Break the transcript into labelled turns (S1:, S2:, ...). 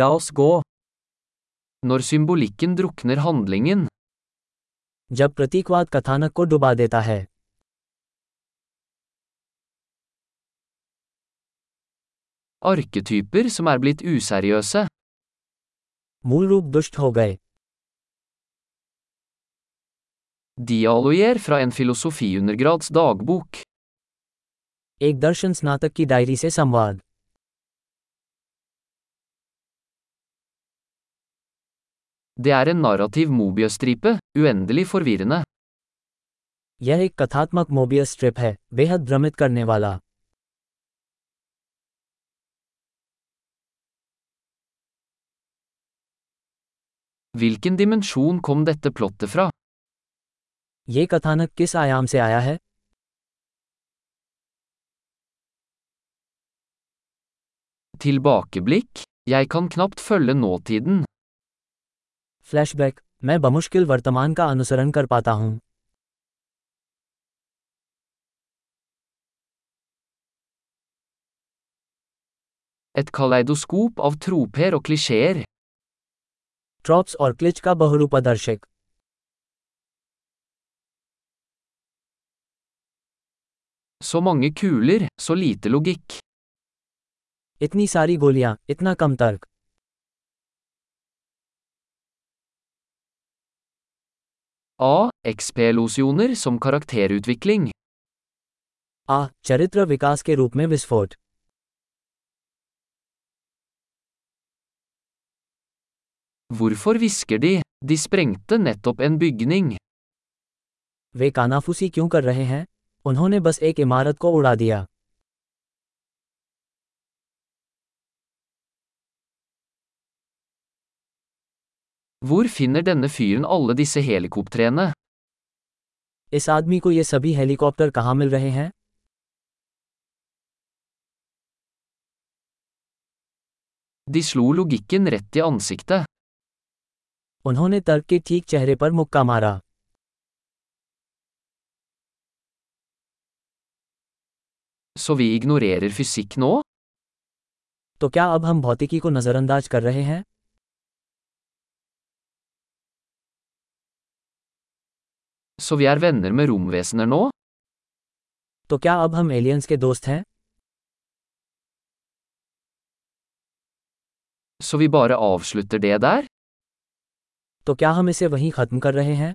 S1: La oss gå. Når symbolikken drukner handlingen,
S2: जब प्रतीकवाद कथानक को डुबा देता है
S1: arketyper som er blitt useriøse,
S2: मूल रूप दुष्ट हो गए
S1: dialoger fra en filosofiundergrads dagbok,
S2: एक दर्शन स्नातक की डायरी से संवाद
S1: det er en narrativ mobiøstripe, uendelig forvirrende,
S2: यह एक कथात्मक मोबियस स्ट्रिप है बेहद भ्रमित करने वाला
S1: hvilken dimensjon kom dette plottet fra?
S2: ये कथानक किस आयाम से आया है
S1: Tilbakeblikk, jeg kan knapt følge nåtiden,
S2: flashback मैं बमुश्किल वर्तमान का अनुसरण कर पाता हूँ
S1: et kaleidoskop av troper og klisjeer,
S2: tropes और क्लिच का बहुरूपदर्शक
S1: så mange kuler, så lite logikk,
S2: इतनी सारी गोलियाँ इतना कम तर्क
S1: a, XP-losjoner som karakterutvikling,
S2: आ चरित्र विकास के रूप में विस्फोट
S1: hvorfor hvisker de, de sprengte nettopp en bygning.
S2: वे कानाफूसी क्यों कर रहे हैं उन्होंने बस एक इमारत को उड़ा दिया
S1: Hvor finner denne fyren alle disse helikoptrene?
S2: इस आदमी को ये सभी हेलीकॉप्टर कहाँ मिल रहे हैं
S1: De slo logikken rett i ansiktet.
S2: उन्होंने तर्क के ठीक चेहरे पर मुक्का मारा
S1: Så vi ignorerer fysikk nå?
S2: तो क्या अब हम भौतिकी को नज़रअंदाज कर रहे हैं
S1: Så vi er venner med romvesener nå?
S2: तो क्या अब हम एलियंस के दोस्त हैं
S1: Så vi bare avslutter det der?
S2: तो क्या हम इसे वहीं ख़त्म कर रहे हैं